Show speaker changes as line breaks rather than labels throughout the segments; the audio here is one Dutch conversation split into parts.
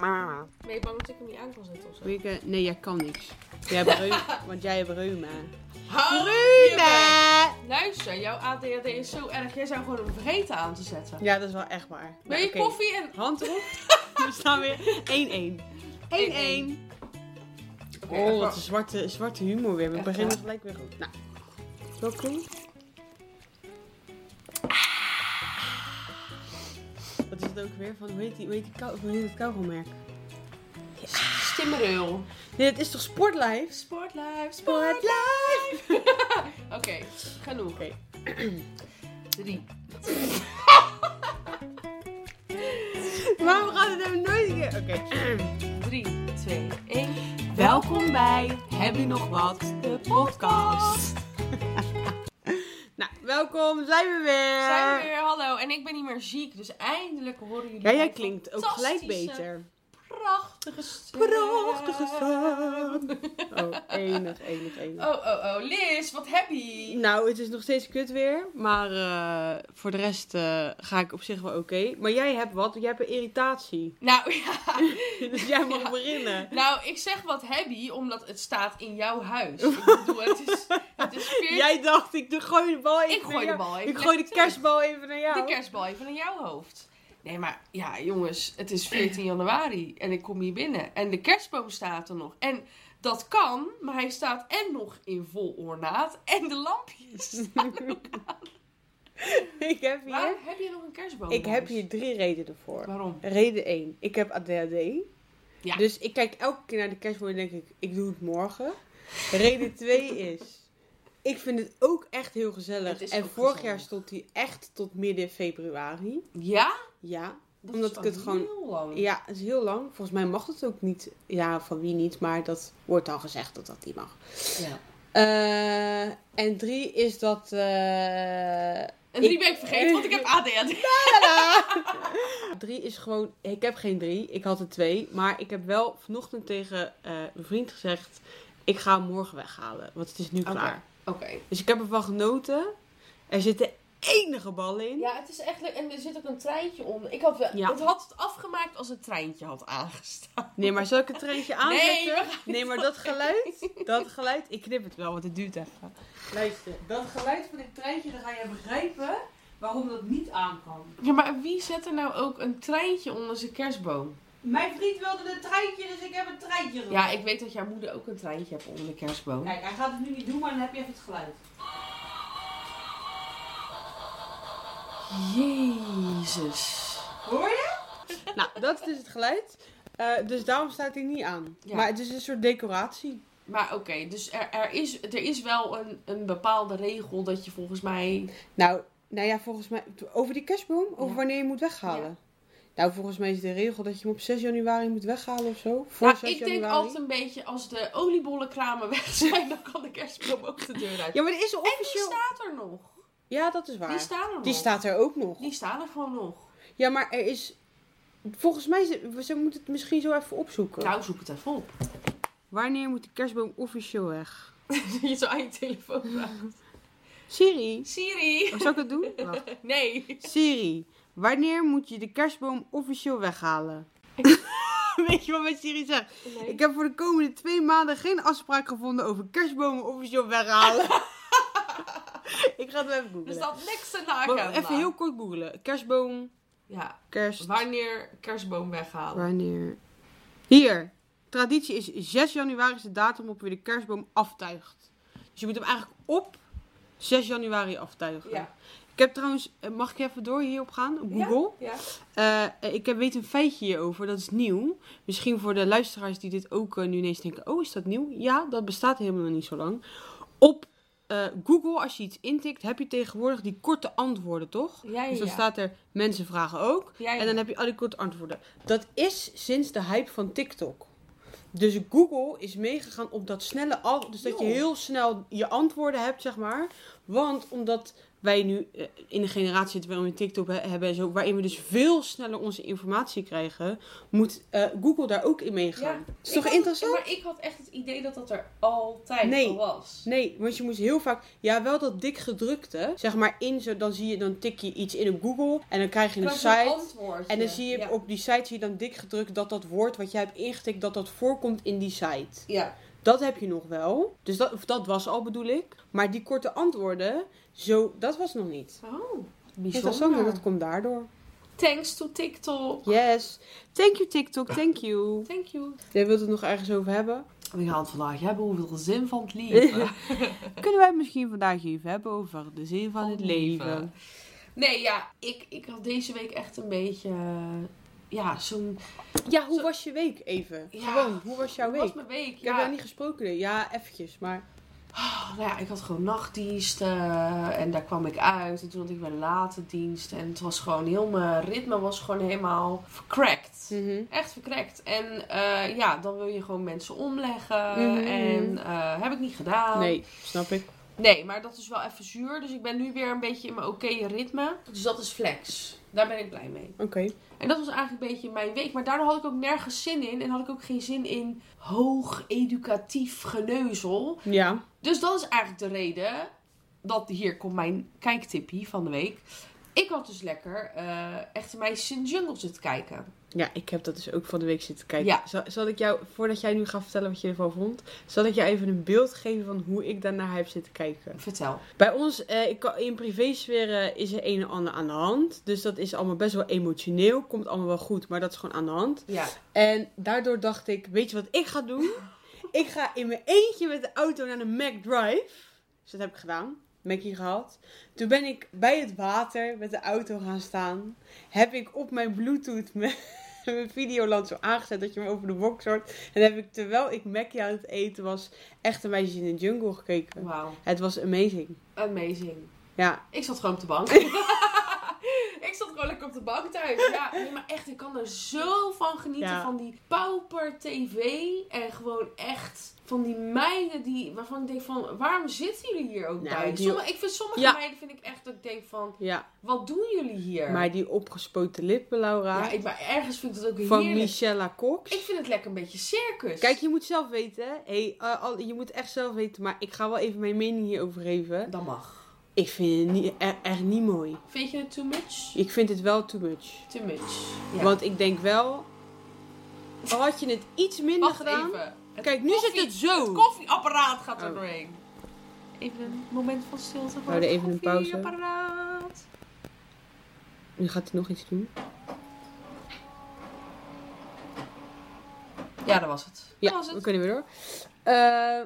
maar.
Ben je bang dat ik hem niet aan kan zetten of zo?
Weet je, nee, jij kan niks. Jij hebt reuma, want jij hebt reuma.
Hou je bek.
Reuma!
Luister, jouw ADHD is zo erg. Jij zou gewoon een vreten aan te zetten.
Ja, dat is wel echt waar.
Wil
Nou,
je
oké.
koffie en...
Hand erop. We staan weer 1-1. 1-1. Oh, wat een zwarte, zwarte humor weer. We
Echt
beginnen
waar.
gelijk weer goed. Nou, wel cool. Ah. Wat is het ook weer? Van, hoe heet, die, hoe heet, die kou, hoe heet het kauwgommerk?
Stimmerul.
Nee, het is toch Sportlife?
Sportlife, sportlife.
Sportlife!
Oké, genoeg.
Oké.
Drie.
Waarom gaat het nou nooit een keer? Oké.
3, 2, 1. Welkom bij Heb je nog wat? De podcast.
Nou, welkom. Zijn we weer.
Zijn we weer, hallo. En ik ben niet meer ziek, dus eindelijk horen jullie.
Ja, jij
mijn
klinkt ook gelijk
fantastische,
beter.
Prachtige stem.
Prachtige stem. Oh, enig, enig, enig.
Oh, oh, oh. Liz, wat happy.
Nou, het is nog steeds kut weer. Maar eh, voor de rest eh, ga ik op zich wel oké. Maar jij hebt wat? Jij hebt een irritatie.
Nou, ja.
dus jij mag beginnen.
Nou, ik zeg wat happy, omdat het staat in jouw huis. Ik bedoel, het is, het is 14
Jij dacht, ik doe- gooi de bal even
Ik gooi
naar
de bal
jou.
even.
Ik gooi de
Lekker
kerstbal even naar jou.
De kerstbal even in jouw hoofd. Nee, maar ja, jongens, het is 14 januari en ik kom hier binnen. En de kerstboom staat er nog. En dat kan, maar hij staat en nog in vol ornaat. En de lampjes.
Ik heb hier...
Waarom heb je nog een kerstboom?
Ik heb
thuis?
hier drie redenen voor.
Waarom?
Reden 1. Ik heb ADHD.
Ja.
Dus ik kijk elke keer naar de kerstboom en denk ik, ik doe het morgen. Reden 2 is, ik vind het ook echt heel gezellig.
Het is
En
ook
vorig
gezellig.
jaar stond hij echt tot midden februari.
Ja?
Ja.
Dat
Omdat
is
ik
al
het gewoon-
heel lang.
Ja, dat is heel lang. Volgens mij mag het ook niet. Ja, van wie niet, maar dat wordt dan gezegd dat dat niet mag.
Ja.
Eh, en drie is dat... eh,
En drie
Ik-
ben ik vergeten, want ik heb ADHD.
Drie is gewoon, ik heb geen drie, ik had er twee. Maar ik heb wel vanochtend tegen eh, mijn vriend gezegd, ik ga hem morgen weghalen. Want het is nu
Oké.
klaar.
Oké.
Dus ik heb ervan genoten. Er zitten enige ballen in.
Ja, het is echt leuk. En er zit ook een treintje onder. Ik had, wel-
Ja.
Het had het afgemaakt als het treintje had aangestaan.
Nee, maar zal ik het treintje
Nee,
aanzetten?
we
Nee, maar dat geluid, dat geluid, ik knip het wel, want het duurt even. Luister, dat geluid van dit treintje, dan ga jij begrijpen waarom dat niet aan kan.
Ja, maar wie zet er nou ook een treintje onder zijn kerstboom?
Mijn vriend wilde een treintje, dus ik heb een treintje
Ja, ik weet dat jouw moeder ook een treintje heeft onder de kerstboom.
Kijk, hij gaat het nu niet doen, maar dan heb je even het geluid.
Jezus.
Hoor je? Nou, dat is dus het geluid. Eh, dus daarom staat hij niet aan.
Ja.
Maar het is een soort decoratie.
Maar oké, dus er, er, is, er is wel een, een bepaalde regel dat je volgens mij...
Nou, nou ja, volgens mij... Over die kerstboom? Over
Ja.
wanneer je moet weghalen? Nou, volgens mij is de regel dat je hem op 6 januari moet weghalen of zo. Voor
Nou,
6
ik
januari.
denk altijd een beetje, als de oliebollenkramen weg zijn, dan kan de kerstboom ook de deur uit.
Ja, maar er is een
en die
officieel...
staat er nog.
Ja, dat is waar.
Die staan er nog.
Die staat er ook nog.
Die staan er gewoon nog.
Ja, maar er is... Volgens mij... is het- We ze moeten het misschien zo even opzoeken.
Nou, zoek het even op.
Wanneer moet de kerstboom officieel weg?
je zo aan je telefoon vraagt.
Siri.
Siri!
Oh, Zal ik het doen? Wacht.
Nee.
Siri, wanneer moet je de kerstboom officieel weghalen? Weet je wat mijn Siri zegt? Ik heb voor de komende twee maanden geen afspraak gevonden over kerstbomen officieel weghalen. ik ga het wel even
Er
googlen.
staat niks in de agenda.
Maar even heel kort googlen. Kerstboom,
Ja,
kerst,
wanneer kerstboom weghalen.
wanneer? Hier, traditie is 6 januari is de datum op wie de kerstboom aftuigt. Dus je moet hem eigenlijk op 6 januari aftuigen.
Ja.
Ik heb trouwens, eh, mag ik even door hierop gaan? Op Google?
Ja.
Eh, ik heb, weet een feitje hierover, dat is nieuw. Misschien voor de luisteraars die dit ook eh, nu ineens denken: oh, is dat nieuw? Ja, dat bestaat helemaal nog niet zo lang. Op eh, Google, als je iets intikt, heb je tegenwoordig die korte antwoorden, toch?
Ja, ja,
Dus dan
ja.
staat er: mensen vragen ook.
Ja, ja.
En dan heb je al die korte antwoorden. Dat is sinds de hype van TikTok. Dus Google is meegegaan op dat snelle al. Dus dat je
Joh.
heel snel je antwoorden hebt, zeg maar. Want omdat wij nu eh, in de generatie zitten waarin we TikTok he- hebben en zo, waarin we dus veel sneller onze informatie krijgen, moet eh, Google daar ook in meegaan.
Ja.
is toch
Ik had-
interessant?
Maar ik had echt het idee dat dat er altijd
Nee.
al was.
Nee, want je moest heel vaak, ja, wel dat dik gedrukte, zeg maar in zo, dan zie je, dan tik je iets in op Google en dan krijg je een
Ik had een
site.
antwoord.
En dan zie je op die site zie je dan dik gedrukt dat dat woord wat jij hebt ingetikt, dat dat voorkomt in die site.
Ja.
Dat heb je nog wel. Dus dat, of dat was al bedoel ik. Maar die korte antwoorden, zo, dat was nog niet.
Oh,
Dus dat, is ook nog- dat komt daardoor.
Thanks to TikTok.
Yes. Thank you TikTok, thank you.
Thank you.
Jij wilt het nog ergens over hebben?
We gaan het vandaag hebben hoeveel de zin van het leven.
Kunnen wij het misschien vandaag even hebben over de zin van het leven?
Nee, ja, ik, ik had deze week echt een beetje. eh, ja, zo'n.
Ja, hoe
Zo-
was je week even?
Ja.
Gewoon, hoe was jouw
Hoe
week?
was mijn week?
Ik heb jou
Ja,
niet gesproken. Ja, eventjes, maar...
Ah, nou ja, ik had gewoon nachtdiensten en daar kwam ik uit. En toen had ik mijn late dienst. En het was gewoon heel mijn ritme was gewoon helemaal verkrakt.
Mhm.
Echt verkrekt. En eh, ja, dan wil je gewoon mensen omleggen.
Mhm.
En eh, heb ik niet gedaan.
Nee, snap ik.
Nee, maar dat is wel even zuur. Dus ik ben nu weer een beetje in mijn oké ritme. Dus dat is flex. Daar ben ik blij mee.
Oké.
En dat was eigenlijk een beetje mijn week. Maar daardoor had ik ook nergens zin in. En had ik ook geen zin in hoog educatief geneuzel.
Ja.
Dus dat is eigenlijk de reden. Dat hier komt mijn kijktippie van de week. Ik had dus lekker eh Echte Meisjes in de Jungle zitten kijken.
Ja, ik heb dat dus ook van de week zitten kijken.
Ja.
Zal, zal ik jou, voordat jij nu gaat vertellen wat je ervan vond, zal ik jou even een beeld geven van hoe ik daarnaar heb zitten kijken.
Vertel.
Bij ons, eh, ik kan- in privésfeer eh, is er een en ander aan de hand. Dus dat is allemaal best wel emotioneel. Komt allemaal wel goed, maar dat is gewoon aan de hand.
Ja.
En daardoor dacht ik, weet je wat ik ga doen? ik ga in mijn eentje met de auto naar de Mac Drive. Dus dat heb ik gedaan. Mackie gehad. Toen ben ik bij het water met de auto gaan staan. Heb ik op mijn Bluetooth mijn, mijn videoland zo aangezet dat je me over de box hoort. En heb ik terwijl ik Mackie aan het eten was, echte meisjes in de jungle gekeken.
Wauw.
Het was amazing.
Amazing.
Ja,
Ik zat gewoon op de bank. ik zat gewoon lekker op de bank thuis. Ja, nee, maar echt, ik kan er zo van genieten.
Ja.
Van die pauper tv. En gewoon echt van die meiden die, waarvan ik denk van, waarom zitten jullie hier ook
Nou,
bij?
die-
Sommige, ik vind sommige
Ja.
meiden vind ik echt dat ik denk van,
Ja,
wat doen jullie hier?
maar die opgespoten lippen, Laura.
ja, ik, maar ergens vind ik dat ook weer
van
heerlijk.
Michella Cox.
Ik vind het lekker een beetje circus.
Kijk, je moet zelf weten. hè. Hey, eh, al- je moet echt zelf weten. Maar ik ga wel even mijn mening hierover geven.
Dat mag.
Ik vind het niet, e- echt niet mooi.
Vind je het too much?
Ik vind het wel too much.
Too much. Ja.
Want ik denk wel... Al had je het iets minder
Wacht
gedaan...
even. Het
Kijk, nu
koffie-
zit het zo.
Het koffieapparaat gaat er
Oh.
doorheen. Even een moment van stilte voor
Houden
het
Nou, even een pauze.
koffieapparaat.
Nu gaat hij nog iets doen.
Ja, dat was het.
Ja,
dat was
we
het.
kunnen weer door. Eh,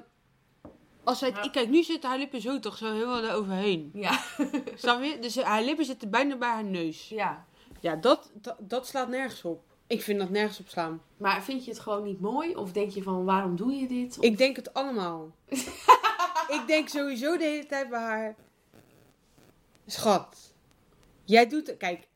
als hij, het-
Nou.
ik kijk, nu zitten haar lippen zo toch zo heel eroverheen.
Ja.
Snap je? Dus haar lippen zitten bijna bij haar neus.
ja.
Ja, dat, dat, dat slaat nergens op. Ik vind dat nergens op slaan.
Maar vind je het gewoon niet mooi? Of denk je van, waarom doe je dit? Of-
Ik denk het allemaal. ik denk sowieso de hele tijd bij haar. Schat, jij doet. Kijk,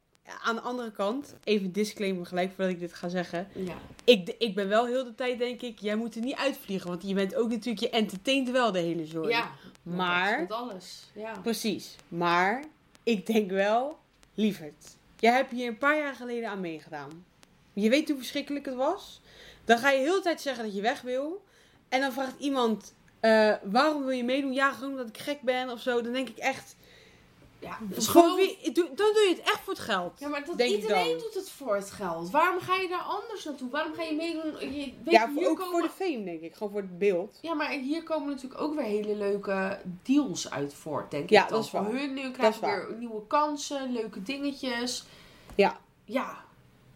aan de andere kant, even disclaimer gelijk voordat ik dit ga zeggen.
Ja.
Ik, ik ben wel heel de tijd, denk ik, jij moet er niet uitvliegen. Want je bent ook natuurlijk, je entertaint wel de hele zooi.
ja.
Maar-
Dat alles. Ja.
Precies. Maar ik denk wel, lieverd. Jij hebt hier een paar jaar geleden aan meegedaan. Je weet hoe verschrikkelijk het was. Dan ga je heel de tijd zeggen dat je weg wil. En dan vraagt iemand, eh, waarom wil je meedoen? Ja, gewoon omdat ik gek ben of zo. Dan denk ik echt,
ja.
gewoon, wie- doe- dan doe je het echt voor het geld.
Ja, maar dat
denk ik
iedereen
dan.
doet het voor het geld. Waarom ga je daar anders naartoe? Waarom ga je meedoen? Je, weet
Ja,
je,
voor-
hier
ook
komen-
voor de fame denk ik. Gewoon voor het beeld.
Ja, maar hier komen natuurlijk ook weer hele leuke deals uit voort, denk
Ja,
ik. dan.
dat is waar.
Voor hun nu
Dat is
krijgen we weer nieuwe kansen, leuke dingetjes.
Ja.
Ja.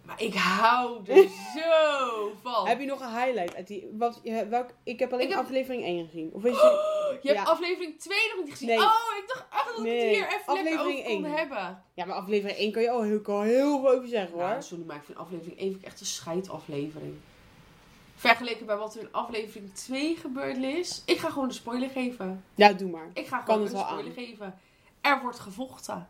Maar ik hou er zo van.
Heb je nog een highlight uit die, wat, eh, welk, ik heb alleen
Oh. Ik heb- Oh.
aflevering 1 gezien. Of is het...
Je hebt
ja.
aflevering 2 nog niet gezien.
Nee.
Oh, ik dacht echt dat ik
Nee,
het hier even
aflevering
lekker over kon
één.
hebben.
Ja, maar aflevering 1 kan je al heel, kan heel veel over zeggen hoor.
Nou, sorry, maar ik vind aflevering 1 echt een scheidaflevering. Vergeleken bij wat er in aflevering 2 gebeurd is. Ik ga gewoon de spoiler geven.
Ja, doe maar.
Ik ga
Kan
gewoon
het
een
wel
spoiler geven. Er wordt gevochten.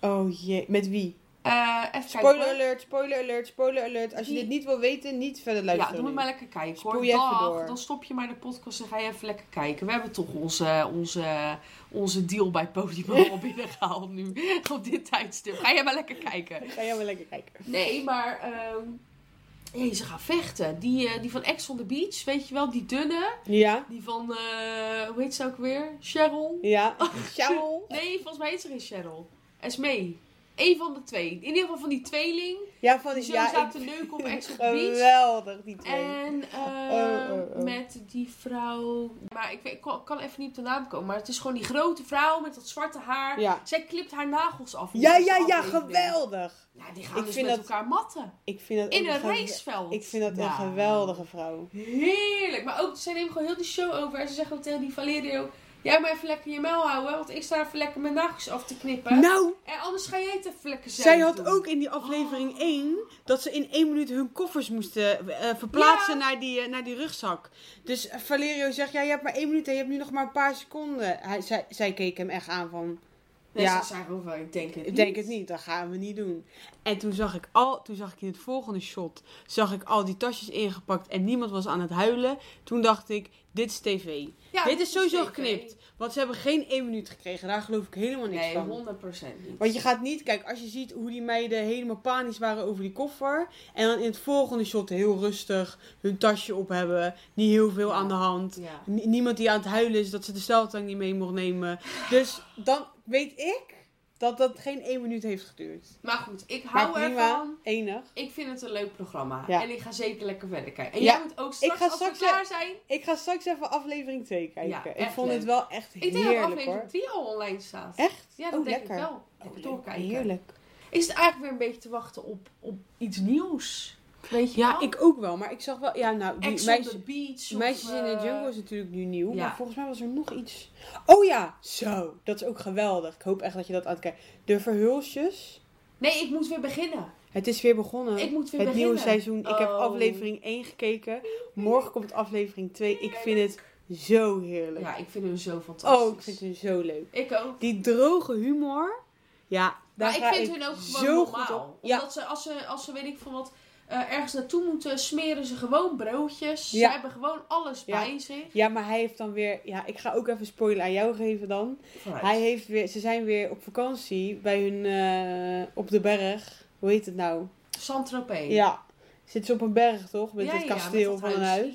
Oh jee, met wie?
Eh, even
Spoiler
kijken. hoor.
alert, spoiler alert, spoiler alert. Als je
Die-
dit niet wil weten, niet verder
Ja,
luisteren.
doe me
nu.
maar lekker kijken hoor.
Spoel je even
Dag,
door.
Dan stop je maar de podcast en ga je even lekker kijken. We hebben toch onze, onze, onze deal bij Podimo al binnengehaald nu. Op dit tijdstip. Ga jij maar lekker kijken.
Ga jij maar lekker kijken.
Nee, maar ehm nee, ze gaan vechten. Die, eh, die van Ex on the Beach, weet je wel, die dunne.
Ja,
Die van, eh, hoe heet ze ook weer? Cheryl?
ja. Cheryl.
Nee, volgens mij heet ze geen Cheryl. Esmee. Eén van de twee. In ieder geval van die tweeling.
Ja, van
Die
die
zullen
ja,
staan
ik
te neuken op Ex on the Beach.
Geweldig, die twee.
En eh,
Oh, oh, oh.
met die vrouw. Maar ik, weet, ik kan- kan even niet op de naam komen. Maar het is gewoon die grote vrouw met dat zwarte haar.
Ja.
Zij klipt haar nagels af. in
Ja,
deze
ja, ja,
aflevering.
geweldig.
Ja, die gaan
Ik
dus
vind
met
dat-
elkaar matten.
Ik vind dat
In
ook
een
gewel-
raceveld.
Ik vind dat een
Nou,
geweldige vrouw.
Heerlijk. Maar ook, zij nemen gewoon heel die show over. En ze zeggen ook tegen die Valerio... Jij maar even lekker je muil houden. Want ik sta even lekker mijn nagels af te knippen.
Nou,
En anders ga jij het even lekker zelf
zij had
doen. Oh.
ook in die aflevering 1 dat ze in één minuut hun koffers moesten eh, verplaatsen naar, die, eh, naar die rugzak. Dus eh, Valerio zegt, ja, je hebt maar één minuut en je hebt nu nog maar een paar seconden. Hij, zij, zij keek hem echt aan van,
Nee,
Ja.
ze zei gewoon van, ik denk het
ik denk het niet, dat gaan we niet doen. En toen zag ik al, toen zag ik in het volgende shot, zag ik al die tasjes ingepakt en niemand was aan het huilen. Toen dacht ik, dit is tv.
Ja,
dit is sowieso
tv.
geknipt, want ze hebben geen één minuut gekregen. Daar geloof ik helemaal niks
Nee,
van.
100% niet.
Want je gaat niet, kijk, als je ziet hoe die meiden helemaal panisch waren over die koffer. En dan in het volgende shot heel rustig hun tasje op hebben. Niet heel veel
Ja.
aan de hand.
Ja.
Ni- niemand die aan het huilen is dat ze de steltang niet mee mocht nemen. Dus dan weet ik dat dat geen één minuut heeft geduurd.
Maar goed, ik
Maar
hou
prima,
ervan.
enig.
Ik vind het een leuk programma.
Ja.
En ik ga zeker lekker verder kijken. En
Ja.
jij moet ook straks,
ga
als
straks- eh,
we klaar zijn...
Ik ga straks even aflevering 2
Ja,
kijken. ik
echt
vond
leuk.
het wel echt
Ik denk dat
heerlijk
aflevering
hoor.
3 al online staat.
Echt?
Ja, dat
Oh,
denk
lekker.
ik wel. Even
Oh,
doorkijken.
Heerlijk.
Ik zit eigenlijk weer een beetje te wachten op, op iets nieuws. Weet je
Ja,
wel?
ik ook wel. Maar ik zag wel, ja nou, die
Ex
meisjes-
on the beach. of,
Meisjes in de
eh,
Jungle is natuurlijk nu nieuw,
ja.
maar volgens mij was er nog iets. Oh ja, zo. Dat is ook geweldig. Ik hoop echt dat je dat aan het kijken. De verhulsjes.
Nee, ik moet weer beginnen.
Het is weer begonnen.
Ik moet weer
het
beginnen.
nieuwe seizoen. Ik heb
Oh.
aflevering 1 gekeken. Morgen komt aflevering 2. Ik vind het zo heerlijk.
Ja, ik vind hem zo fantastisch.
oh, ik vind het zo leuk.
Ik ook.
Die droge humor. Ja, daar
maar
ga
ik vind
ik
hun ook gewoon
zo
normaal.
goed op. Ja,
Omdat ze als, ze, als ze, weet ik van wat, eh, ergens naartoe moeten, smeren ze gewoon broodjes. Ze
Ja.
hebben gewoon alles
Ja.
bij zich.
ja, maar hij heeft dan weer... Ja, ik ga ook even spoiler aan jou geven dan. Hij heeft weer, ze zijn weer op vakantie bij hun eh, op de berg. Hoe heet het nou?
Saint-Tropez.
Ja. Zitten ze op een berg toch? Met
Ja,
het
ja,
kasteel
met dat
van een
huis.
huis.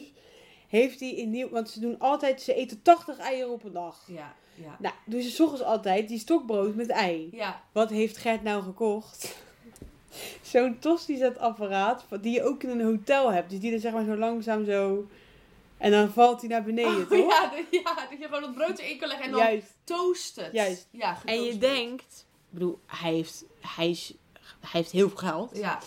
Heeft hij in nieuw. Want ze doen altijd. Ze eten 80 eieren op een dag.
Ja, ja.
Nou, doen ze 's ochtends altijd die stokbrood met ei.
Ja,
Wat heeft Gert nou gekocht? Zo'n tostisetapparaat. Die je ook in een hotel hebt. Dus die er zeg maar zo langzaam zo. En dan valt hij naar beneden,
Oh,
toch?
ja, dat- ja, dat je gewoon dat brood erin kan leggen en dan
Juist.
toast het.
Juist.
Ja,
En
getoast
je
het.
denkt, ik bedoel, hij heeft, hij is, hij heeft heel veel geld.
Ja,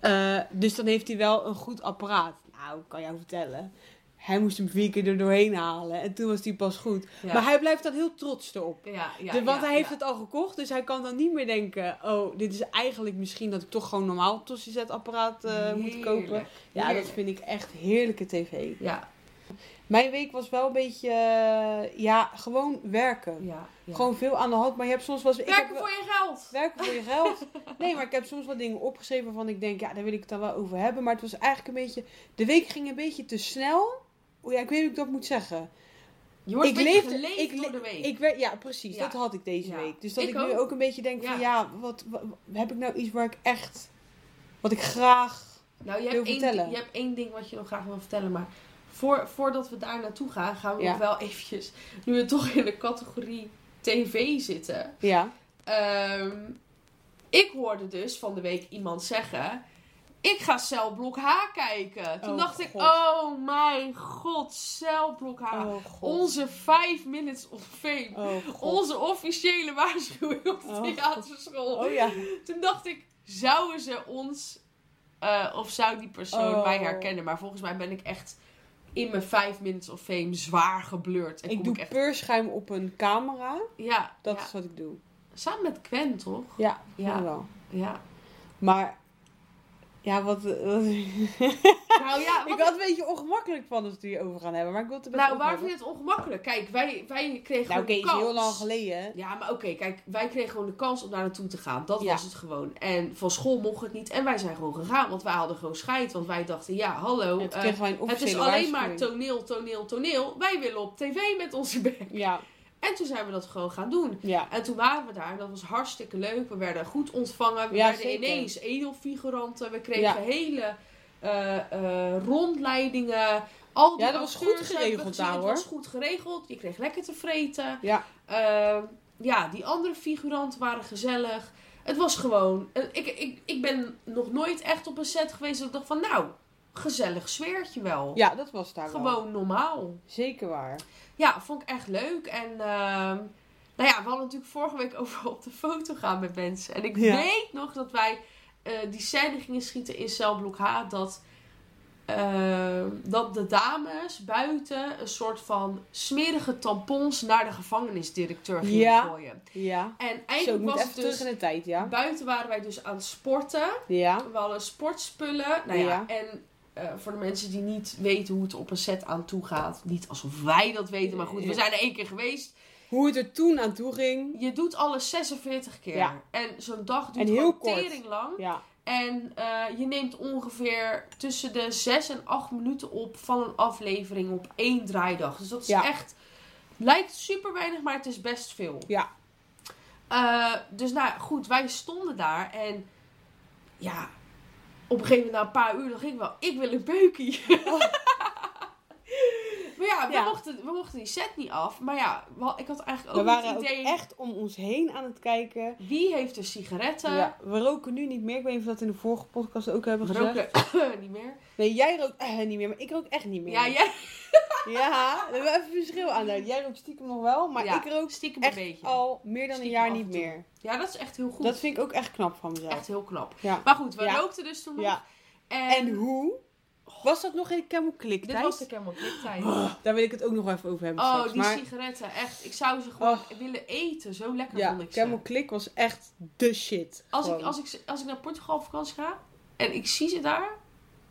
Eh, dus dan heeft hij wel een goed apparaat. Nou, ik kan jou vertellen. Hij moest hem vier keer er doorheen halen. En toen was hij pas goed.
ja.
Maar hij blijft dan heel trots erop.
ja, ja,
De- want
ja,
hij heeft
ja.
het al gekocht. Dus hij kan dan niet meer denken. Oh, dit is eigenlijk misschien dat ik toch gewoon normaal tossiezetapparaat eh moet
Heerlijk.
kopen. Ja,
Heerlijk.
dat vind ik echt heerlijke tv.
Ja,
Mijn week was wel een beetje... eh, ja, gewoon werken.
ja, ja.
Gewoon veel aan de hand. Maar je hebt soms wel... eens- ik heb
Werken
wel-
voor je geld.
Werken voor je geld. Nee, maar ik heb soms wat dingen opgeschreven waarvan ik denk, ja, daar wil ik het dan wel over hebben. Maar het was eigenlijk een beetje. De week ging een beetje te snel. Oh ja, ik weet niet hoe ik dat moet zeggen.
Je wordt
ik
een beetje
leefde-
geleefd
ik le-
door de week.
Ik werd, ja, precies.
Ja.
Dat had ik deze
Ja.
week. Dus dat
Ik
ik, nu
ook.
ook een beetje denk van, ja, wat, wa- heb ik nou iets waar ik echt. Wat ik graag.
nou, je
wil
hebt, één,
vertellen.
je hebt één ding wat je nog graag wil vertellen, maar voor, voordat we daar naartoe gaan, gaan we
Ja.
nog wel eventjes, nu we toch in de categorie tv zitten,
Ja.
Ehm, ik hoorde dus van de week iemand zeggen: Ik ga celblok H kijken. Toen
Oh,
dacht ik:
God.
Oh mijn god, celblok H.
Oh god.
Onze 5 minutes of fame.
Oh, god.
Onze officiële waarschuwing op de
Oh, God.
theaterschool.
Oh ja.
Toen dacht ik: Zouden ze ons eh, of zou die persoon
Oh.
mij herkennen? Maar volgens mij ben ik echt in mijn 5 minutes of fame zwaar geblurred. En
Ik
kom
doe
ik echt.
peurschuim op een camera.
Ja,
Dat
ja.
is wat ik doe.
samen met Gwen toch?
Ja,
Ja.
wel.
Ja.
Maar ja, wat. wat-
Nou ja,
Ik
wat-
had een beetje ongemakkelijk van als we het over gaan hebben, maar ik wil het er best
nou,
over
waar
hebben.
vind je het ongemakkelijk? Kijk, wij, wij kregen
Nou, oké,
gewoon de
is
kans.
heel lang geleden. hè?
Ja, maar oké, kijk, wij kregen gewoon de kans om daar naartoe te gaan. Dat
Ja.
was het gewoon. En van school mocht het niet. En wij zijn gewoon gegaan, want wij hadden gewoon scheid. Want wij dachten, ja, hallo,
En toen
eh,
kregen wij een
het is
officiële
alleen maar
waarschuwing.
toneel, toneel, toneel. Wij willen op tv met onze bek.
Ja,
En toen zijn we dat gewoon gaan doen.
ja.
En toen waren we daar en dat was hartstikke leuk. We werden goed ontvangen. We
Ja,
werden
zeker.
ineens edelfiguranten. We kregen
Ja.
hele eh, eh, rondleidingen. Al die
Ja, dat was
acteurs
goed
hebben we
geregeld
gezien.
daar,
Het
hoor.
was goed geregeld. Je kreeg lekker te vreten.
Ja.
Eh, ja, die andere figuranten waren gezellig. Het was gewoon... eh, Ik, ik, ik ben nog nooit echt op een set geweest dat ik dacht van... Nou, gezellig sfeertje wel.
ja, dat was daar wel.
gewoon normaal.
Zeker waar.
Ja, vond ik echt leuk. En ehm, nou ja, we hadden natuurlijk vorige week over op de foto gaan met mensen. En ik
Ja.
weet nog dat wij eh, die scène gingen schieten in celblok H. Dat, ehm, dat de dames buiten een soort van smerige tampons naar de gevangenisdirecteur gingen
Ja.
gooien.
Ja.
En
Zo, ik
eigenlijk
moet
was
even
het
terug
dus...
in de tijd, ja.
Buiten waren wij dus aan het sporten.
Ja.
We hadden sportspullen. Nou ja,
Ja.
en eh, voor de mensen die niet weten hoe het op een set aan toe gaat. Niet alsof wij dat weten, maar goed, we
Ja.
zijn er één keer geweest.
Hoe het er toen aan toe ging.
Je doet alles 46 keer.
Ja.
En zo'n dag duurt
En heel
gewoon
kort.
tering lang.
Ja.
En eh, je neemt ongeveer tussen de 6 en 8 minuten op van een aflevering op één draaidag. Dus dat is
Ja.
echt. Lijkt super weinig, maar het is best veel.
Ja.
Eh, dus nou ja, goed, wij stonden daar en ja, op een gegeven moment na een paar uur dacht ik wel, ik wil een beukie. maar ja, we,
Ja.
Mochten, we mochten die set niet af. Maar ja, wel- ik had eigenlijk
We
ook
waren
het
ook
idee,
echt om ons heen aan het kijken.
wie heeft er sigaretten?
Ja, we roken nu niet meer. Ik weet niet of we dat in de vorige podcast ook hebben
We
gezegd.
roken niet meer.
Nee, jij rookt eh, niet meer, maar ik rook echt niet meer.
Ja, jij
Ja, daar hebben we even verschil aan. Nou, Jij rookt stiekem nog wel, maar
Ja,
ik rook
stiekem een
echt
beetje.
al meer dan
Stiekem
een
af
jaar
en
niet
toe.
meer.
Ja, dat is echt heel goed.
Dat vind ik ook echt knap van mezelf.
Echt heel knap.
Ja.
Maar goed, we
Ja.
rookten dus toen nog.
Ja.
En,
En hoe? Was dat nog in de Camel Click
dit
tijd?
was de Camel Click tijd.
Daar wil ik het ook nog wel even over hebben
Oh,
Oh, straks.
die
maar Oh.
sigaretten, echt. Ik zou ze gewoon willen eten. Zo lekker vond
ja,
ik ze.
Camel Click was echt de shit.
Als ik,
Gewoon.
als, ik, als ik naar Portugal op vakantie ga en ik zie ze daar,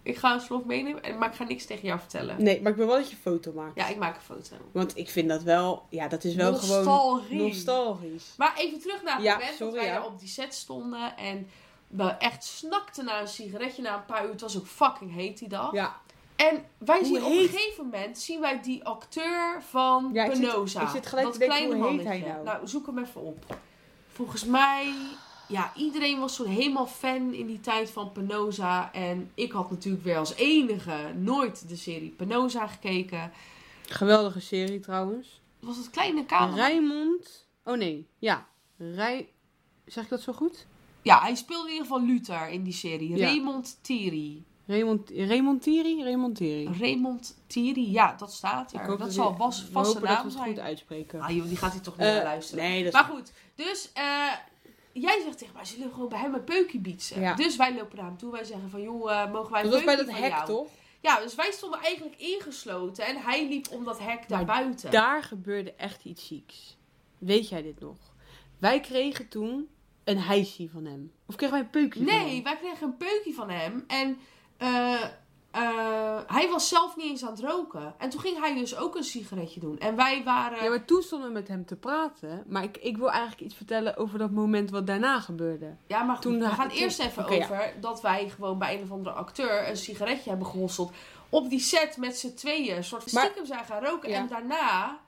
ik ga een vlog meenemen, en- maar ik ga niks tegen jou vertellen.
Nee, maar ik wil wel dat je een foto maakt.
Ja, ik maak een foto.
Want ik vind dat wel... Ja, dat is wel gewoon
Nostalgie.
nostalgisch.
Maar even terug naar het
Ja,
moment
sorry,
dat wij
ja.
daar op die set stonden en we echt snakten naar een sigaretje na een paar uur. Het was ook fucking heet die dag.
Ja,
En wij
Hoe
zien op een
heet-
gegeven moment zien wij die acteur van
Ja, ik zit-
Penosa.
ik zit gelijk
dat
te denken,
kleine
hoe heet
mannetje.
hij nou?
zoek hem even op. Volgens mij, ja, iedereen was zo'n helemaal fan in die tijd van Penosa. En ik had natuurlijk weer als enige nooit de serie Penosa gekeken.
geweldige serie trouwens.
Was dat kleine kamer?
Rijmond... Oh nee, ja. Rij... Zeg ik dat zo goed?
Ja, hij speelde in ieder geval Luther in die serie.
Ja.
Raymond Thierry.
Raymond, Raymond Thierry? Raymond Thierry.
Raymond Thierry, ja, dat staat er.
hoop
Dat,
dat
zal
we-
was,
We
vaste
hopen dat
naam
we het
zijn.
goed uitspreken.
Ah joh, die gaat hij toch niet
Eh,
naar luisteren.
nee, dat is
Maar goed, dus eh, jij zegt tegen mij, zullen we gewoon bij hem een peukje bietsen?
Ja.
Dus wij lopen naar hem toe. Wij zeggen van, joh, eh, mogen wij een
Dat was bij
peukie
dat
van
hek,
jou?
toch?
Ja, dus wij stonden eigenlijk ingesloten en hij liep om dat hek
Maar
daar buiten.
Daar gebeurde echt iets zieks. Weet jij dit nog? Wij kregen toen een hijsie van hem. Of kregen wij een peukje van
Nee,
hem?
wij kregen een peukje van hem en eh, eh, hij was zelf niet eens aan het roken. En toen ging hij dus ook een sigaretje doen. En wij waren...
Ja, maar toen stonden we met hem te praten. Maar ik, ik wil eigenlijk iets vertellen over dat moment wat daarna gebeurde.
Ja, maar goed,
Toen-
we gaan
toen-
eerst even
oké, ja.
over dat wij gewoon bij een of andere acteur een sigaretje hebben gehosseld. Op die set met z'n tweeën, een soort
Maar-
stiekem zijn gaan roken.
Ja.
En daarna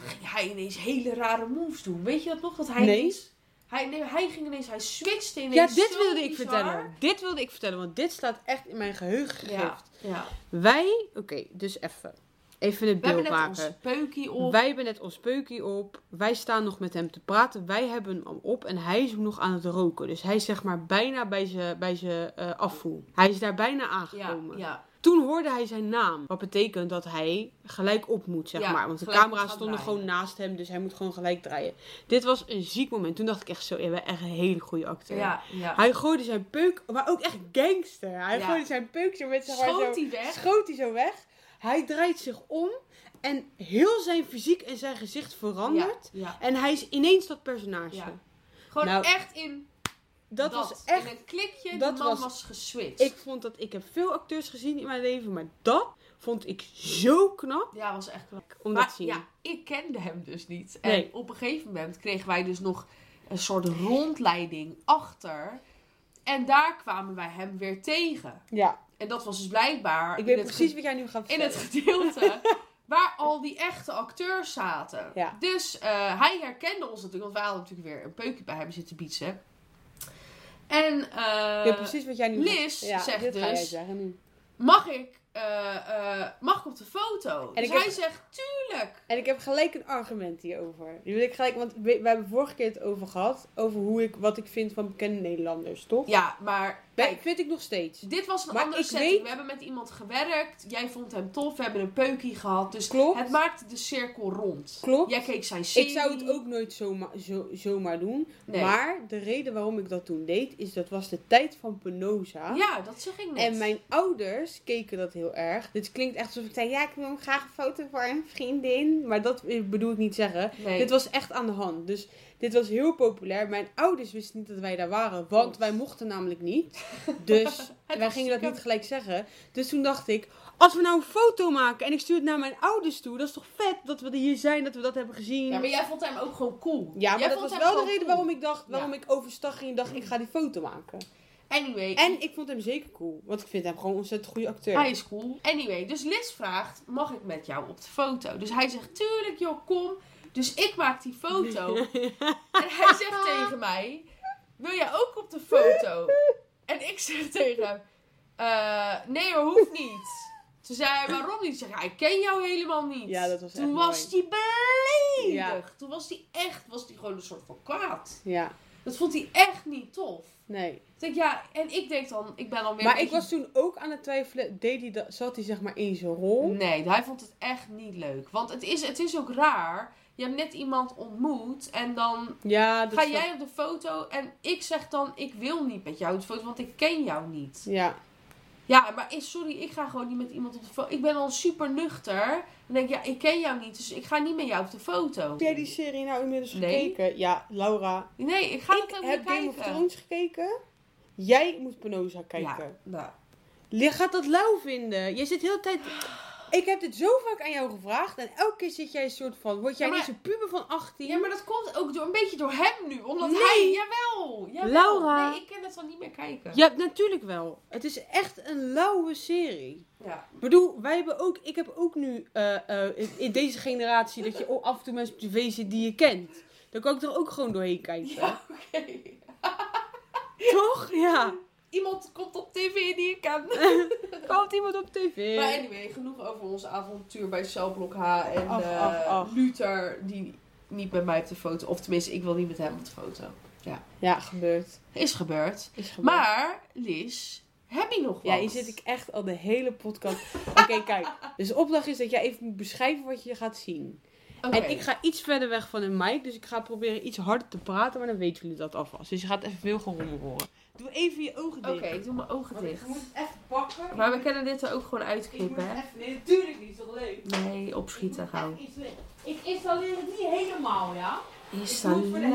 ging hij ineens hele rare moves doen. Weet je dat nog? Dat hij
Nee.
ineens- hij, nee, hij ging ineens, hij switchte ineens.
Ja, dit
zo
wilde ik
bizar.
vertellen. Dit wilde ik vertellen, want dit staat echt in mijn geheugen
Ja,
gegrift.
ja.
Wij, oké, dus even. Even het
We
beeld
hebben net
maken.
ons peukie op.
Wij hebben net ons peukie op. Wij staan nog met hem te praten. Wij hebben hem op en hij is nog aan het roken. Dus hij is zeg maar bijna bij zijn bij zijn, eh afvoer. Hij is daar bijna
ja,
aangekomen.
ja,
Toen hoorde hij zijn naam. Wat betekent dat hij gelijk op moet, zeg
Ja,
maar. Want de
gelijk moet
camera's
gaan
stonden
draaien.
gewoon naast hem. Dus hij moet gewoon gelijk draaien. Dit was een ziek moment. Toen dacht ik echt zo, ja, we hebben echt een hele goede acteur.
ja, ja.
Hij gooide zijn peuk, maar ook echt gangster. Hij
Ja.
gooide zijn peuk zo met zijn
Schoot hij weg.
schoot hij zo weg. Hij draait zich om en heel zijn fysiek en zijn gezicht verandert.
Ja, ja.
En hij is ineens dat personage.
Ja. Gewoon
Nou.
echt in
dat was echt
In een klikje,
dat
die man was,
was-
geswitcht.
Ik vond dat ik heb veel acteurs gezien in mijn leven, maar dat vond ik zo knap
Ja, was echt knap.
om dat
Maar
te zien.
ja, ik kende hem dus niet. En
Nee.
op een gegeven moment kregen wij dus nog een soort rondleiding achter. En daar kwamen wij hem weer tegen.
Ja,
En dat was dus blijkbaar
ik
in,
weet
het,
precies wie jij nu gaat
ge- in het
vertellen.
gedeelte waar al die echte acteurs zaten.
Ja.
Dus eh, hij herkende ons natuurlijk, want wij hadden natuurlijk weer een peukje bij hem zitten bietsen. En eh,
Ik weet precies wat jij nu gaat-
Liz zegt
dit ga jij
dus-
zeggen nu.
mag ik, eh, eh, mag ik op de foto?
En
dus
ik heb-
hij zegt, tuurlijk.
En ik heb gelijk een argument hierover. Nu wil ik gelijk, want we, we hebben vorige keer het over gehad. Over hoe ik, wat ik vind van bekende Nederlanders, toch?
Ja, maar
Ben-
kijk,
vind ik nog steeds.
dit was een
Maar
andere
ik
setting.
weet-
We hebben met iemand gewerkt. Jij vond hem tof. We hebben een peukie gehad. Dus
Klopt.
het maakte de cirkel rond.
Klopt.
Jij keek zijn serie.
Ik zou het ook nooit zomaar, zo, zomaar doen.
Nee.
Maar de reden waarom ik dat toen deed, is dat was de tijd van Penosa.
Ja, dat zeg ik net.
En mijn ouders keken dat heel erg. Dit klinkt echt alsof ik zei, ja, ik wil hem graag een foto voor een vriendin. Maar dat eh, bedoel ik niet zeggen.
Nee.
Dit was echt aan de hand. Dus dit was heel populair. Mijn ouders wisten niet dat wij daar waren. Want
Klopt.
wij mochten namelijk niet. Dus wij gingen dat
was stiekem.
niet gelijk zeggen. Dus toen dacht ik, als we nou een foto maken en ik stuur het naar mijn ouders toe. Dat is toch vet dat we er hier zijn, dat we dat hebben gezien.
Ja, maar jij vond hem ook gewoon cool.
Ja, maar
Jij
dat was
vond hem
wel de
gewoon
reden
cool.
waarom ik dacht, waarom ik overstag ging en dacht, ik ga die foto maken.
Anyway,
En ik vond hem zeker cool, want ik vind hem gewoon een ontzettend goede acteur.
hij is cool. Anyway, dus Liz vraagt, mag ik met jou op de foto? Dus hij zegt, tuurlijk joh, kom. Dus ik maak die foto. en hij zegt tegen mij, wil jij ook op de foto? En ik zeg tegen hem, "Eh, nee hoor, hoeft niet. Toen zei hij, waarom niet? Ik Zeg, ja, ik ken jou helemaal niet.
Ja, dat was
Toen
echt
was hij beledigd. Toen was hij echt, was hij gewoon een soort van kwaad.
Ja,
Dat vond hij echt niet tof.
nee.
Ik Denk, ja, en ik denk dan, ik ben dan weer
Maar
een
ik
beetje
was toen ook aan het twijfelen, deed hij dat, zat hij zeg maar in zijn rol?
Nee, hij vond het echt niet leuk. Want het is, het is ook raar. Je hebt net iemand ontmoet en dan
Ja, dat
ga
is
jij op de foto en ik zeg dan: Ik wil niet met jou op de foto, want ik ken jou niet.
wel- Ja,
Ja, maar is- sorry, ik ga gewoon niet met iemand op de foto. Ik ben al super nuchter. En denk, ja, ik ken jou niet, dus ik ga niet met jou op de foto.
heb jij die serie nou inmiddels
Nee.
gekeken? Ja, Laura.
Nee, ik ga
ik
dat ook
heb
niet
Game of
kijken.
Thrones gekeken. Jij moet Penosa
Ja,
kijken.
nou,
Je gaat dat lauw vinden. Je zit heel de tijd... Ik heb dit zo vaak aan jou gevraagd. En elke keer zit jij een soort van... Word jij
Ja, maar-
niet zo'n puber van 18?
Ja, maar dat komt ook door, een beetje door hem nu. Omdat
Nee.
hij... Jawel, jawel.
Laura.
Nee, ik kan het dan niet meer kijken.
Ja, natuurlijk wel. Het is echt een lauwe serie.
Ja.
Ik bedoel, wij hebben ook, ik heb ook nu eh, eh, in, in deze generatie dat je af en toe mensen op tv zit die je kent. Dan kan ik er ook gewoon doorheen kijken.
Ja, oké.
Toch? Ja.
Iemand komt op tv die ik ken.
Komt iemand op tv?
Maar anyway, genoeg over ons avontuur bij Celblok H en
Af,
eh,
af, af.
Luther, die niet met mij op de foto, of tenminste, ik wil niet met hem op de foto.
Ja, gebeurt.
Is gebeurd.
Is gebeurd.
Maar, Liz, heb je nog wat?
Ja, hier zit ik echt al de hele podcast. Oké, kijk. Dus de opdracht is dat jij even moet beschrijven wat je gaat zien.
Oké.
En ik ga iets verder weg van een mic, dus ik ga proberen iets harder te praten, maar dan weten jullie dat alvast. Dus je gaat even veel gerommel horen. Doe even je ogen
Oké,
dicht.
ik doe mijn ogen dicht.
het echt pakken.
Maar we kunnen dit er ook gewoon uitknippen, hè?
echt... Nee, natuurlijk niet. Dat leuk.
Nee, opschieten gauw.
Ik installeer het niet helemaal, ja?
Installeren.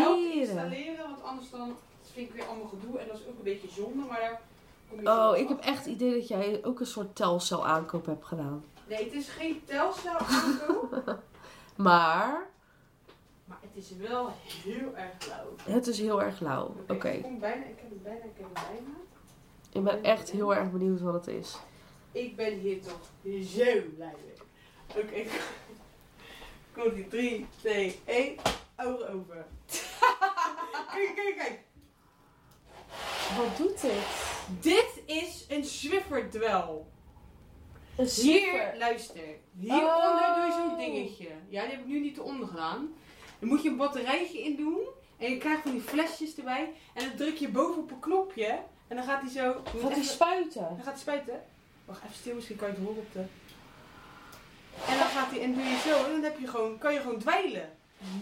want anders dan vind ik weer allemaal gedoe. En dat is ook een beetje zonde, maar daar kom je
Oh, ik heb echt het idee dat jij ook een soort telcel aankoop hebt gedaan.
Nee, het is geen telcel auto,
Maar,
maar het is wel heel erg flauw.
het is heel erg lauw. Oké.
Ik kom bijna, ik heb het bijna, ik heb het bijna.
Ik ben echt heel erg benieuwd wat het is.
Ik ben hier toch zo blij mee. Oké, komt die 3, 2, 1, ogen open. kijk, kijk, kijk.
Wat doet dit?
Dit is een Zwifferdwel.
Een
Hier, luister. Hieronder
Oh.
doe je zo'n dingetje. Ja, die heb ik nu niet eronder gedaan. Dan moet je een batterijtje in doen. En je krijgt van die flesjes erbij. En dan druk je boven op een knopje. En dan gaat hij zo... je moet
Gaat hij
even-
spuiten?
dan gaat hij spuiten. Wacht even stil, misschien kan je het horen op de... En dan gaat hij... En doe je zo. En dan heb je gewoon, kan je gewoon dweilen.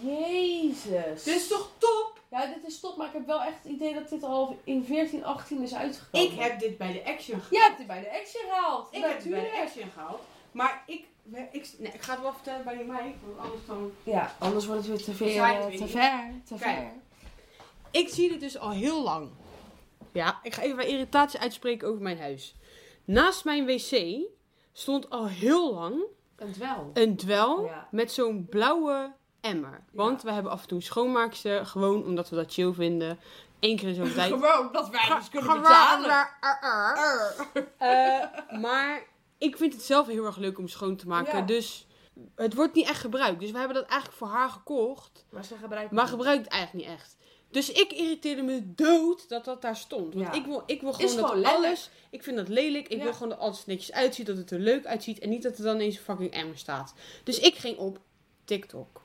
Jezus.
Dit is toch top?
Ja, dit is top, maar ik heb wel echt het idee dat dit al in 14, 18 is uitgekomen.
Ik heb dit bij de Action gehaald.
Jij hebt dit bij de action gehaald.
Ik heb dit bij
Natuurlijk.
de Action gehaald. Maar ik... Ik, nee, ik ga het wel vertellen bij mij, want anders dan...
Ja, anders wordt het weer te
Zwaait
veel.
weer
Te
niet.
ver. Te
Kijk.
ver.
Ik zie dit dus al heel lang. Ja, ik ga even mijn irritatie uitspreken over mijn huis. Naast mijn wc stond al heel lang
Het wel.
een dwel
Ja.
met zo'n blauwe emmer. Want we hebben af en toe schoonmaakster, gewoon omdat we dat chill vinden. Eén keer in zo'n tijd.
Gewoon dat wij dus kunnen
Gewoon,
betalen.
maar, er, er. Eh, maar ik vind het zelf heel erg leuk om schoon te maken.
Ja.
Dus het wordt niet echt gebruikt. Dus we hebben dat eigenlijk voor haar gekocht.
Maar ze gebruiken
Maar gebruikt eigenlijk niet echt. Dus ik irriteerde me dood dat dat daar stond. Want
Ja.
ik, wil, ik wil gewoon dat
gewoon lelijk.
alles... Ik vind dat lelijk. Ik
Ja.
wil gewoon dat alles er netjes uitziet. Dat het er leuk uitziet. En niet dat er dan ineens een fucking emmer staat. Dus ik ging op TikTok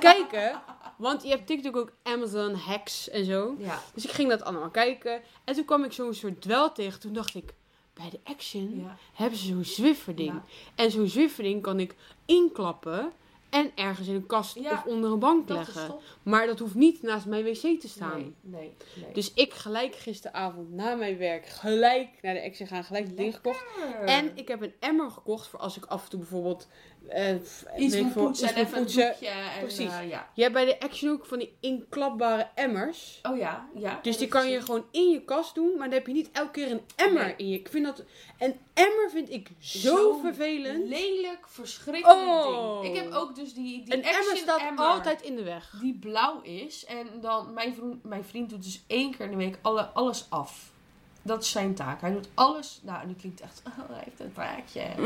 kijken. Want je hebt TikTok ook Amazon hacks en zo.
Ja.
Dus ik ging dat allemaal kijken. En toen kwam ik zo'n soort dwel tegen. Toen dacht ik, bij de action
ja.
hebben ze zo'n zwifferding.
Ja.
En zo'n zwifferding kan ik inklappen en ergens in een kast
Ja,
of onder een bank
Dat is
leggen.
top.
Maar dat hoeft niet naast mijn wc te staan.
Nee, nee, nee.
Dus ik gelijk gisteravond na mijn werk gelijk naar de action gaan, gelijk het ding gekocht. En ik heb een emmer gekocht voor als ik af en toe bijvoorbeeld eh, f- weet
iets
ik
moet
veel,
poetsen
iets
en
moet
even een
poetsen.
doekje. En,
Precies.
eh, ja.
Je hebt bij de action ook van die inklapbare emmers.
Oh ja, ja.
Dus die kan je gewoon in je kast doen, maar dan heb je niet elke keer een emmer
Nee.
in je. Ik vind dat een emmer vind ik zo,
Zo
vervelend.
Lelijk, verschrikkelijk
Oh.
ding. Ik heb ook dus die, die
Een emmer
action
staat
emmer
altijd in de weg.
die blauw is. En dan, mijn vriend, mijn vriend doet dus één keer in de week alle, alles af. Dat is zijn taak. Hij doet alles. Nou, nu klinkt echt. Oh, hij heeft een taakje.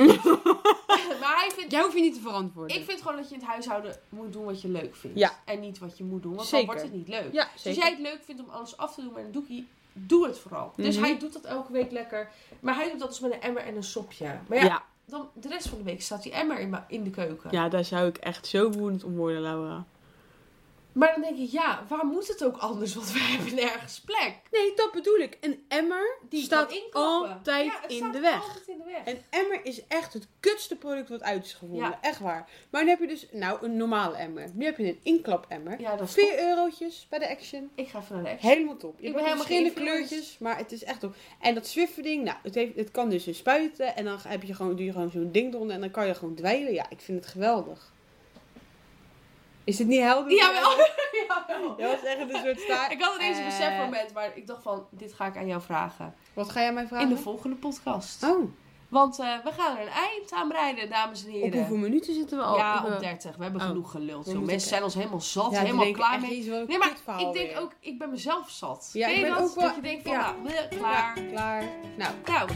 maar hij vindt.
Jij hoeft je niet te verantwoorden.
Ik vind gewoon dat je in het huishouden moet doen wat je leuk vindt.
Ja.
En niet wat je moet doen, want
Zeker.
dan wordt het niet leuk.
ja,
Dus als
zeker.
jij het leuk vindt om alles af te doen met een doekie, doe het vooral. Dus
Mhm.
hij doet dat elke week lekker. Maar hij doet dat dus met een emmer en een sopje. Maar ja,
ja. Ja.
dan, de rest van de week staat die emmer in, ma- in de keuken.
daar zou ik echt zo woedend om worden, Laura.
Maar dan denk ik, ja, waar moet het ook anders? Want we hebben nergens plek.
Nee, dat bedoel ik. Een emmer
Die je
staat
kan inklappen.
altijd
Ja, het
in
staat
de weg.
altijd in de weg.
Een emmer is echt het kutste product wat uit is gevonden.
Ja.
Echt waar. Maar nu heb je dus nou een normale emmer. Nu heb je een inklapemmer.
Ja, dat is
4 eurotjes bij de action.
Ik ga even naar de action.
Helemaal top. Je
Ik
hebt
ben helemaal
verschillende
geïnfluenced.
kleurtjes, maar het is echt top. En dat Zwift-ding, nou, het, heeft, het kan dus een spuiten. En dan heb je gewoon, doe je gewoon zo'n ding eronder en dan kan je gewoon dweilen. Ja, ik vind het geweldig. Is dit niet helder?
Jawel. Jawel.
Dat was echt een soort staart.
Ik had ineens een
Eh,
besefmoment, maar ik dacht van, dit ga ik aan jou vragen.
Wat ga jij mij
In
vragen?
de volgende podcast.
oh,
Want eh, we gaan er een eind aan breiden, dames en heren.
op hoeveel minuten zitten we al?
eh. Ja,
Ik, eh,
op 30. We hebben
Oh.
genoeg geluld.
We
joh.
moeten-
Mensen zijn ons helemaal zat,
ja,
helemaal klaar mee.
Nee,
Nee, maar
maar
ik denk ook, ik ben mezelf zat.
Ja,
Ken
ik
je
ben
dat?
ook wel-
Dat je denkt van,
ja.
nou, bleh, klaar.
Klaar. Nou,
Nou,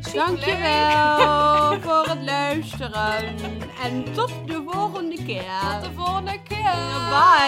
superleuk.
dankjewel voor het luisteren. En tot de volgende keer.
Tot de volgende keer.
Bye.